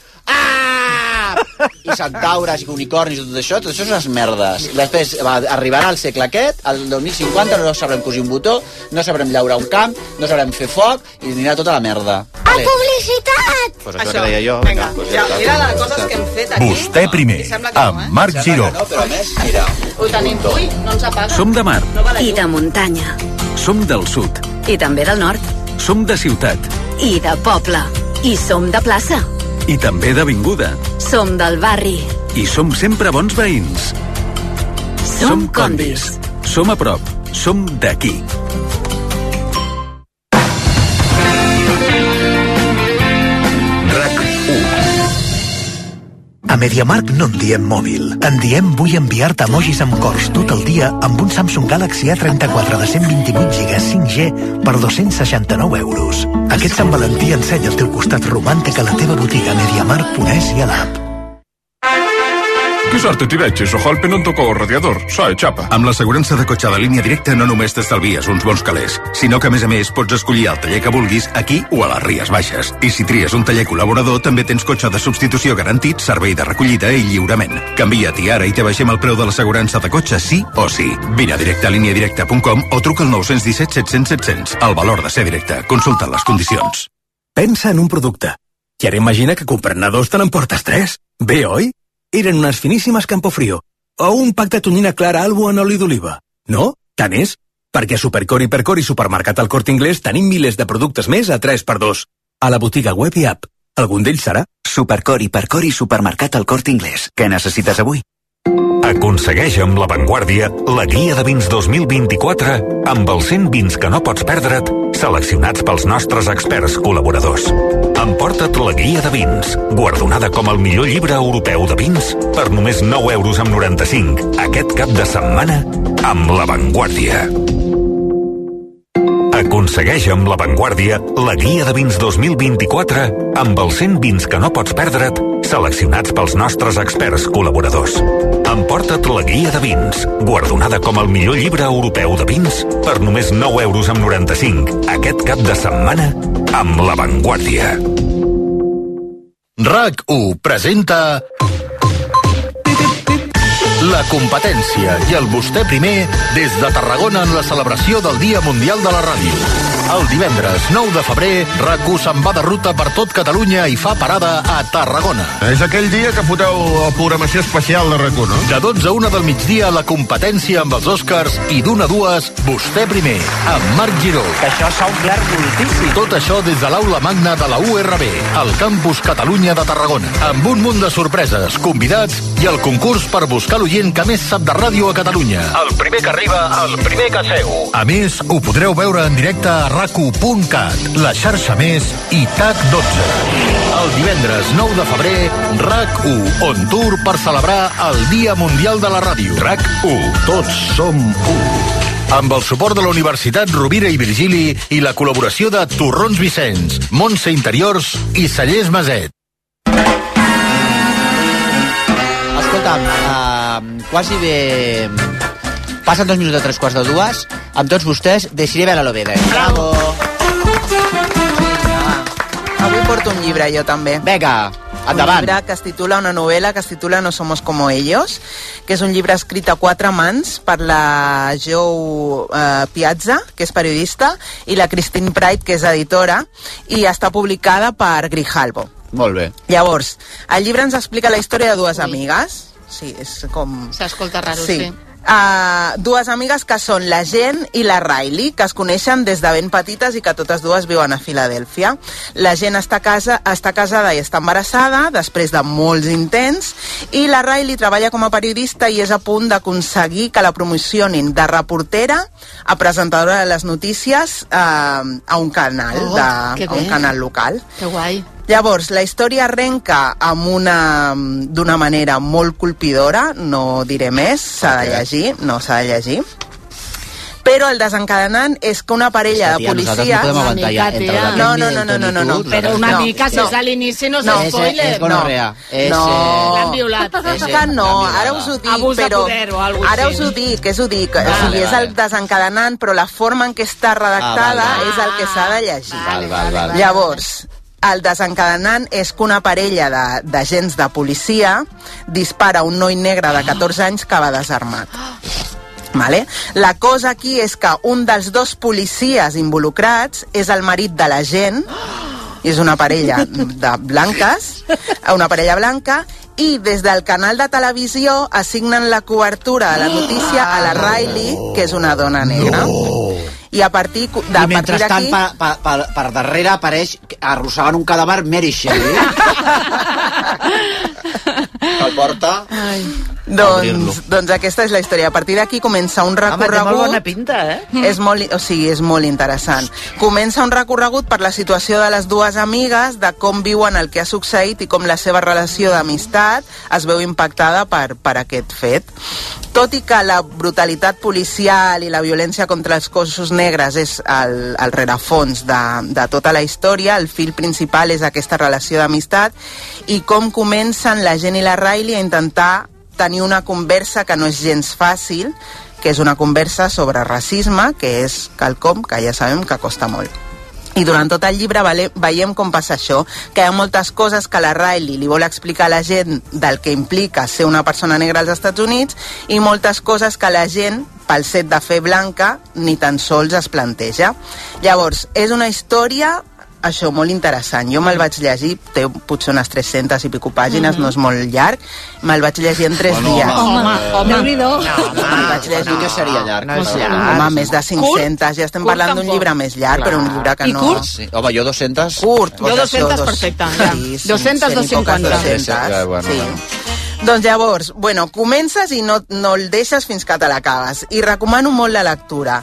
Ah! I centaures, i unicornis i tot això, tot això són les merdes. Després va, arribarà al segle aquest, al 2050, no sabrem cosir un botó, no sabrem llaurar un camp, no sabrem fer foc, i anirà tota la merda. A publicitat! Pues això, que deia jo. Vinga, doncs ja, està. mira les coses que hem fet aquí. Vostè primer, I sembla que no, amb eh? Marc Giró. No, però a més, mira, Ho tenim. Ui, no ens apaga. Som de mar, No va la i llum. de muntanya, som del sud, i també del nord, som de ciutat i de poble, i som de plaça, i també d'avinguda. som del barri, I som sempre bons veïns. som, condis. Som a prop. Som d'aquí. RAC 1. A MediaMarkt no en diem mòbil. En diem vull enviar-te emojis amb cors tot el dia amb un Samsung Galaxy A34 de 128 GB 5G per 269 euros. Aquest Sant Valentí ensenya el teu costat romàntic a la teva botiga MediaMarkt.es i a l'app. Que sort te veig, això Halpe no em toca el radiador. Soy xapa. Amb l'assegurança de cotxe de línia directa no només t'estalvies uns bons calés, sinó que, a més a més, pots escollir el taller que vulguis aquí o a les Ries Baixes. I si tries un taller col·laborador, també tens cotxe de substitució garantit, servei de recollida i lliurament. Canvia-t'hi ara i te baixem el preu de l'assegurança de cotxe sí o sí. Vine a directe a líniadirecta.com o truca al 917 700 700. El valor de ser directe. Consulta les condicions. Pensa en un producte. I ara imagina que comprant-ne dos te n'emportes tres. Bé, oi? Eren unes finíssimes Campofrío. O un pack de tonyina clara albo en oli d'oliva. No? Tant és? Perquè a Supercor, Hipercor i Supermercat al Corte Inglés tenim milers de productes més a 3x2. A la botiga web i app. Algun d'ells serà? Supercor i Percor i Supermercat al Corte Inglés. Què necessites avui? Aconsegueix amb La Vanguardia la guia de vins 2024 amb els 100 vins que no pots perdre't seleccionats pels nostres experts col·laboradors. Emporta't la guia de vins, guardonada com el millor llibre europeu de vins per només 9 euros amb 95 aquest cap de setmana amb La Vanguardia. Aconsegueix amb La Vanguardia la guia de vins 2024 amb els 100 vins que no pots perdre't seleccionats pels nostres experts col·laboradors. Emporta't la guia de vins, guardonada com el millor llibre europeu de vins, per només 9 euros amb 95, aquest cap de setmana, amb La Vanguardia. RAC1 presenta... La competència i el vostè primer des de Tarragona en la celebració del Dia Mundial de la Ràdio. El divendres 9 de febrer, RAC1 se'n va de ruta per tot Catalunya i fa parada a Tarragona. És aquell dia que foteu la programació especial de RAC1, no? De 12 a 1 del migdia, la competència amb els Oscars i d'una a dues, vostè primer, amb Marc Giró. Que això s'ha omplert moltíssim. Tot això des de l'aula magna de la URB, al campus Catalunya de Tarragona, amb un munt de sorpreses, convidats i el concurs per buscar l'oient que més sap de ràdio a Catalunya. El primer que arriba, el primer que seu. A més, ho podreu veure en directe a racu.cat, la xarxa més i TAC12. El divendres 9 de febrer, RAC1 on tour per celebrar el Dia Mundial de la Ràdio. RAC1, tots som u. Amb el suport de la Universitat Rovira i Virgili i la col·laboració de Torrons Vicenç, Montse Interiors i Cellers Maset. Escolta'm, uh, quasi bé... Passen dos minuts de tres quarts de dues. Amb tots vostès, de Sirivela Lovede. Bravo! Avui porto un llibre, jo també. Vinga, endavant. Un llibre que es titula, una novel·la que es titula No somos como ellos, que és un llibre escrit a quatre mans per la Jo eh, Piazza, que és periodista, i la Christine Pride, que és editora, i està publicada per Grijalbo. Molt bé. Llavors, el llibre ens explica la història de dues amigues. Sí, és com... S'escolta raro, Sí. sí. Uh, dues amigues que són la Jen i la Riley, que es coneixen des de ben petites i que totes dues viuen a Filadèlfia. La Jen està, casa, està casada i està embarassada després de molts intents i la Riley treballa com a periodista i és a punt d'aconseguir que la promocionin de reportera a presentadora de les notícies uh, a un canal, Oh, de, que a un bé. canal local. Que guai. Llavors, la història arrenca amb una d'una manera molt colpidora, no diré més, s'ha de llegir, no s'ha de llegir. Però el desencadenant és que una parella de Tia, nosaltres policies... no podem aguantar ja entre la no, Britney, no, no, no, el no, no, Toni no. Cruz, nosaltres no. a l'inici no és- És gonorrea. És, No. eh, L'han violat. És que no, ara us ho dic, Abús de però... poder o alguna cosa ara us així. ho dic, és ho dic. Vale, o sigui, és vale. Ah, el desencadenant, però la forma en què està redactada vale. és el que s'ha de llegir. Val, val, val. Llavors, el desencadenant és que una parella de- d'agents de, de policia dispara un noi negre de 14 anys que va desarmat. Vale? La cosa aquí és que un dels dos policies involucrats és el marit de la gent, i és una parella de blanques, una parella blanca, i des del canal de televisió assignen la cobertura de la notícia a la Riley, que és una dona negra. I a partir cu- de I a partir mentrestant, d'aquí... per, per, per, per darrere apareix arrossegant un cadàver Mary Shelley. eh? [LAUGHS] que el porta... Ai. Obrir-lo. Doncs, doncs aquesta és la història. A partir d'aquí comença un Home, té recorregut... molt bona pinta, eh? És molt, i- o sigui, és molt interessant. Comença un recorregut per la situació de les dues amigues, de com viuen el que ha succeït i com la seva relació d'amistat es veu impactada per, per aquest fet. Tot i que la brutalitat policial i la violència contra els cossos negres és el, el rerefons de, de tota la història, el fil principal és aquesta relació d'amistat i com comencen la gent i la Riley a intentar tenir una conversa que no és gens fàcil, que és una conversa sobre racisme, que és quelcom que ja sabem que costa molt. I durant tot el llibre vale, veiem com passa això, que hi ha moltes coses que la Riley li vol explicar a la gent del que implica ser una persona negra als Estats Units i moltes coses que la gent, pel set de fer blanca, ni tan sols es planteja. Llavors, és una història això molt interessant. Jo me'l vaig llegir, té potser unes 300 i pico pàgines, mm. no és molt llarg, me'l vaig llegir en 3 Bueno, dies. home, Home, home. Déu-n'hi-do. Home, vaig llegir que seria llarg. No és llarg. Home, més de 500. ja estem Curt parlant d'un tampoc. llibre més llarg, però un llibre que no... Sí. Home, jo 200... Curt. Jo 200, perfecte. Ja. Sí, sí, 200, sí, ni poques 250. 200. Ja, bueno, Sí. bueno. Doncs llavors, bueno, comences i no, no el deixes fins que te l'acabes. I recomano molt la lectura.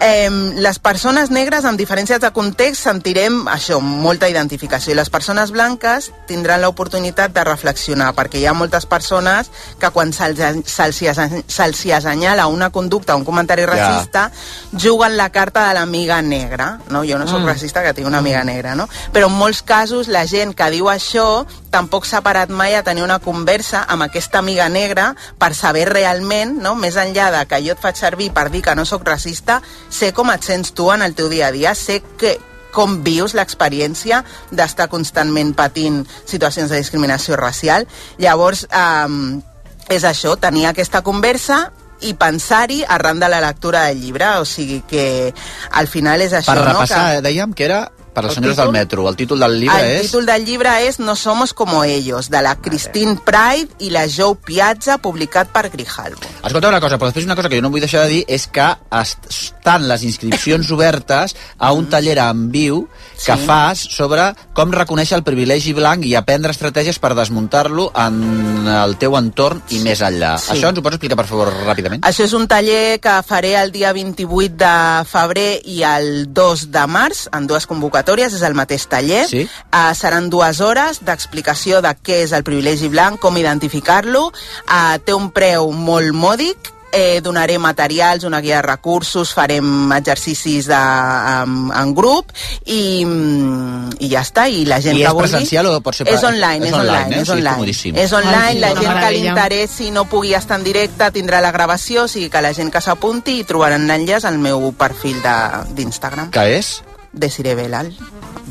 Eh, les persones negres, amb diferències de context, sentirem això, molta identificació. I les persones blanques tindran l'oportunitat de reflexionar, perquè hi ha moltes persones que quan se'ls se se assenyala una conducta, un comentari Ja. racista, juguen la carta de l'amiga negra. No? Jo no sóc Mm. racista, que tinc una amiga negra, no? Però en molts casos la gent que diu això tampoc s'ha parat mai a tenir una conversa amb aquesta amiga negra per saber realment, no? més enllà de que jo et faig servir per dir que no sóc racista, sé com et sents tu en el teu dia a dia, sé que, com vius l'experiència d'estar constantment patint situacions de discriminació racial. Llavors, eh, és això, tenir aquesta conversa i pensar-hi arran de la lectura del llibre, o sigui que al final és això, Per no? repassar, Que- eh, dèiem que era per les El senyores títol? del metro. El títol del llibre el és... títol del llibre és No somos como ellos, de la Christine Pride i la Joe Piazza, publicat per Grijalbo. Escolta una cosa, però després una cosa que jo no vull deixar de dir és que est- estan les inscripcions obertes a un taller en viu que Sí. fas sobre com reconèixer el privilegi blanc i aprendre estratègies per desmuntar-lo en el teu entorn i més enllà. Sí. Ah. Això ens ho pots explicar, per favor, ràpidament? Això és un taller que faré el dia 28 de febrer i el 2 de març, en dues convocatòries, és el mateix taller. Sí. Eh, seran dues hores d'explicació de què és el privilegi blanc, com identificar-lo. Eh, té un preu molt mòdic, Eh, donaré materials, una guia de recursos, farem exercicis de, en, en grup i, mm, i ja està. I la gent I que és vulgui... presencial o pot ser És per- online, és, és online, online, eh? O és sigui, online. comodíssim. És online, Ai, sí, la una gent que li meravella. interessi no pugui estar en directe tindrà la gravació, o sigui que la gent que s'apunti i trobaran l'enllaç al meu perfil de- d'Instagram. Que és? Desiré Belal.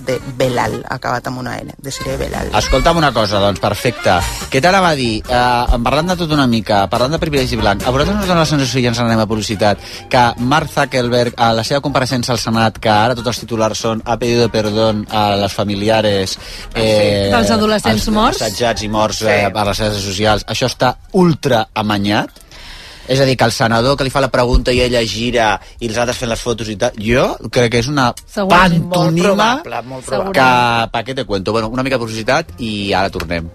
De Belal, acabat amb una L. Desiré Belal. Escolta'm una cosa, doncs, perfecte. Què t'anava a dir? Eh, parlant de tot una mica, parlant de privilegi blanc, a vosaltres no us dona la sensació, i ja ens anem a publicitat, que Mark Zuckerberg, a la seva compareixença al Senat, que ara tots els titulars són ha pedido perdón a les familiares... Eh, Ah, Dels adolescents als- morts. Assetjats i morts eh, per les xarxes socials. Això està ultra amanyat. És a dir, que el senador que li fa la pregunta i ella gira i els altres fent les fotos i tal, jo crec que és una Segurament, molt pantomima probable, molt probable. que pa què te cuento. Bueno, una mica de publicitat i ara tornem.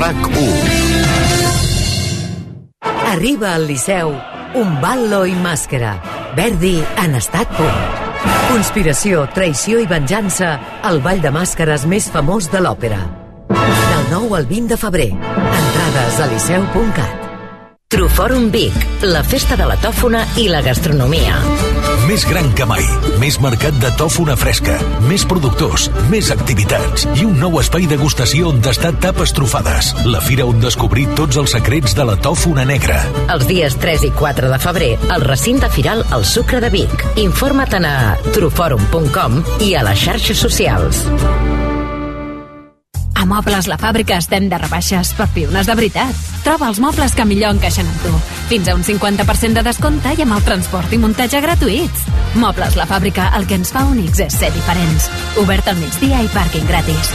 RAC1 Arriba al Liceu un ballo i màscara. Verdi en estat pur. Conspiració, traïció i venjança, el ball de màscares més famós de l'òpera. Del 9 al 20 de febrer. Entrades a liceu.cat. Truforum Vic, la festa de la tòfona i la gastronomia. Més gran que mai, més mercat de tòfona fresca, més productors, més activitats i un nou espai degustació on tastar tapes trufades. La fira on descobrir tots els secrets de la tòfona negra. Els dies 3 i 4 de febrer, al recinte firal El Sucre de Vic. Informa-te'n a truforum.com i a les xarxes socials. A Mobles La Fàbrica estem de rebaixes per piones de veritat. Troba els mobles que millor encaixen amb tu. Fins a un 50% de descompte i amb el transport i muntatge gratuïts. Mobles La Fàbrica, el que ens fa únics és ser diferents. Obert al migdia i pàrquing gratis.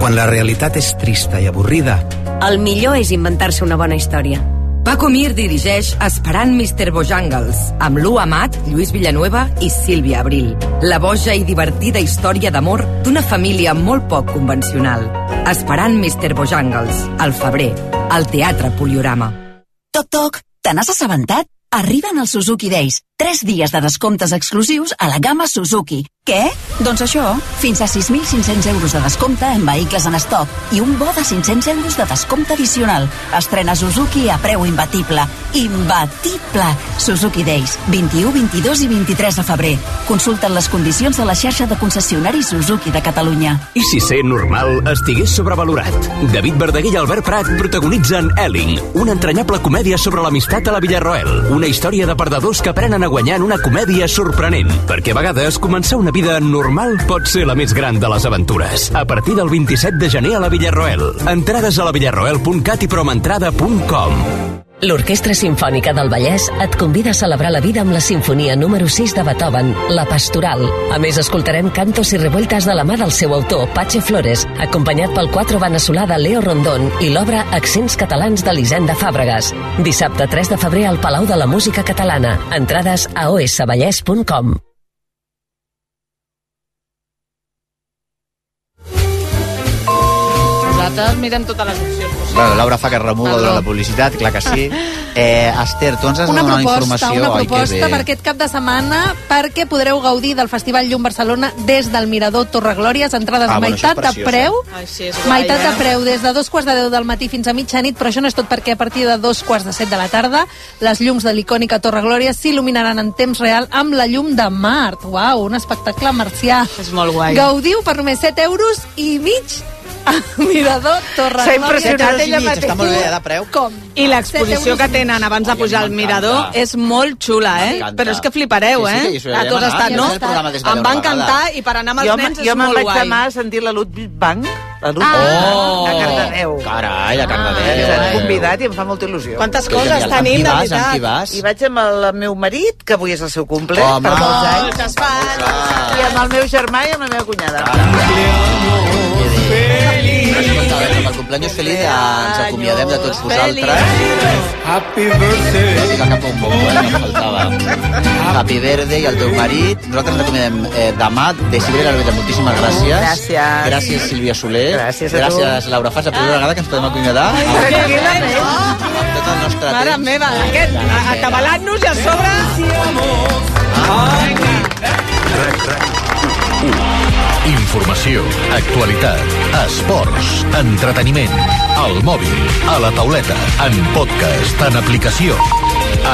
Quan la realitat és trista i avorrida, El millor és inventar-se una bona història. Paco Mir dirigeix Esperant Mr. Bojangles, amb Lu Amat, Lluís Villanueva i Sílvia Abril. La boja i divertida història d'amor d'una família molt poc convencional. Esperant Mr. Bojangles, al febrer, al Teatre Poliorama. Toc, toc, te n'has assabentat? Arriben els Suzuki Days. 3 dies de descomptes exclusius a la gamma Suzuki. Què? Doncs això, fins a 6.500 euros de descompte en vehicles en estoc i un bo de 500 euros de descompte addicional. Estrena Suzuki a preu imbatible. Imbatible! Suzuki Days, 21, 22 i 23 de febrer. Consulten les condicions de la xarxa de concessionaris Suzuki de Catalunya. I si ser normal estigués sobrevalorat? David Verdaguer i Albert Prat protagonitzen Elling, una entranyable comèdia sobre l'amistat a la Villarroel. Una història de perdedors que aprenen a guanyar en una comèdia sorprenent. Perquè a vegades començar una vida normal pot ser la més gran de les aventures. A partir del 27 de gener a la Villarroel. Entrades a la villarroel.cat i promentrada.com. L'Orquestra Simfònica del Vallès et convida a celebrar la vida amb la sinfonia número 6 de Beethoven, La Pastoral. A més, escoltarem cantos i revueltes de la mà del seu autor, Patxe Flores, acompanyat pel quatre veneçolà de Leo Rondón i l'obra Accents Catalans d'Elisenda Fàbregas. Dissabte 3 de febrer al Palau de la Música Catalana. Entrades a osvallès.com. La Nosaltres mirem totes les opcions possibles. Bueno, Laura fa que remuga Perdó. durant la publicitat, clar que sí. Eh, Esther, tu ens has de Una donar proposta, informació. una oi, que proposta bé. per aquest cap de setmana perquè podreu gaudir del Festival Llum Barcelona des del Mirador Torreglòries, entrades Ah, a bueno, meitat això és de preciós, preu, Ai, sí, és guai, meitat de eh? preu des de dos quarts de deu del matí fins a mitjanit, però això no és tot perquè a partir de dos quarts de set de la tarda les llums de l'icònica Torreglòries s'il·luminaran en temps real amb la llum de Mart. Uau, un espectacle marcià. És molt guai. Gaudiu per només 7 euros i mig a Mirador Torreglòries. S'ha impressionat ella mateixa. preu. Com? I Set l'exposició euros que i mig. tenen abans de pujar al mirador és molt xula, eh? M'encanta. Però és que flipareu, Sí, sí, que eh? hi solem A tots anar. estat, Jo no? he fet el programa des de Em llavors, va a encantar vegades. i per anar amb els jo, me- nens jo és me'n molt vaig guai. demà a sentir la Ludwig Bank, la Ludwig Ah. Bank, a Oh. Cardedeu. Ah, Carai, a Cardedeu. Ens han eh? convidat i em fa molta il·lusió. Quantes Que coses, genial. Amb Tanit, qui de vas, veritat. amb qui vas? I vaig amb el meu marit, que avui és el seu cumple, Home. per molts Oh, anys. I amb el meu germà i amb la meva cunyada. Ah, Amb el cumpleaños feliç eh, ens acomiadem de tots vosaltres. Happy birthday. Música cap a un bombo, eh? No faltava. Ah. Happy birthday i el teu marit. Nosaltres ens acomiadem eh, demà. Desiree Garbeta, moltíssimes gràcies. Gràcies. Gràcies, Sílvia Soler. Gràcies a tu. Gràcies, Laura Fas. La primera vegada que ens podem acomiadar. Tranquil·lament. Amb tot el nostre temps. Mare meva, aquest, a- atabalant-nos i a sobre... RAC, RAC 1. Informació, actualitat, esports, entreteniment, al mòbil, a la tauleta, en podcast, en aplicació,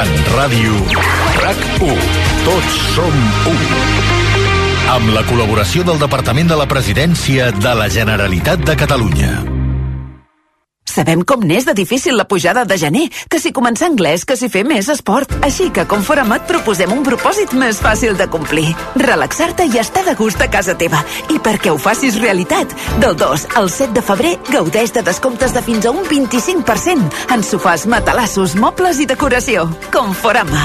en ràdio. RAC 1. Tots som un. Amb la col·laboració del Departament de la Presidència de la Generalitat de Catalunya. Sabem com n'és de difícil la pujada de gener, que si començar anglès, que si fer més esport. Així que com Forum et proposem un propòsit més fàcil de complir. Relaxar-te i estar de gust a casa teva. I perquè ho facis realitat, del 2 al 7 de febrer gaudeix de descomptes de fins a un 25% en sofàs, matalassos, mobles i decoració. Com Forama.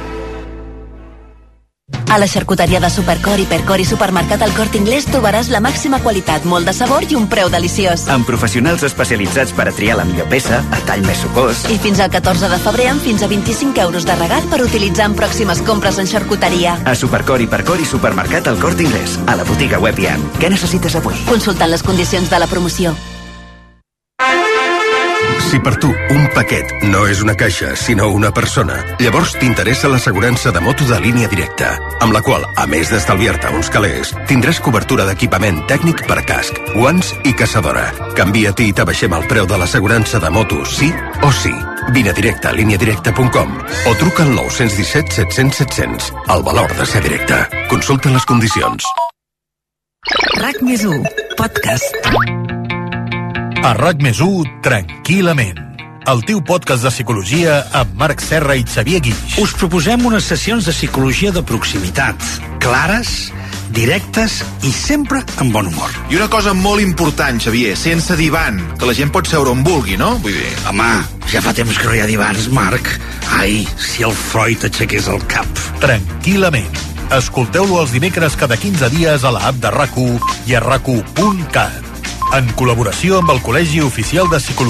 A la xarcuteria de Supercor, Hipercor i Supermercat El Corte Inglés trobaràs la màxima qualitat, molt de sabor i un preu deliciós. Amb professionals especialitzats per a triar la millor peça, a tall més sucós... I fins al 14 de febrer amb fins a 25 euros de regal per utilitzar en pròximes compres en xarcuteria. A Supercor, Hipercor i Supermercat El Corte Inglés, a la botiga web i app. Què necessites avui? Consultant les condicions de la promoció. Si per tu un paquet no és una caixa, sinó una persona, llavors t'interessa l'assegurança de moto de línia directa, amb la qual, a més d'estalviar-te uns calés, tindràs cobertura d'equipament tècnic per casc, guants i caçadora. Canvia-t'hi i t'abaixem el preu de l'assegurança de moto, sí o sí. Vine a directe a lineadirecta.com o truca al 917 700 700. El valor de ser directe. Consulta les condicions. RAC més 1, podcast. A RAC més 1, tranquil·lament. El teu podcast de psicologia amb Marc Serra i Xavier Guix. Us proposem unes sessions de psicologia de proximitat, clares, directes i sempre amb bon humor. I una cosa molt important, Xavier, sense divan, que la gent pot seure on vulgui, no? Vull dir... Home, ja fa temps que no hi ha divans, Marc. Ai, si el Freud aixequés el cap. Tranquil·lament. Escolteu-lo els dimecres cada 15 dies a la app de RAC1 i a rac1.cat en col·laboració amb el Col·legi Oficial de Psicologia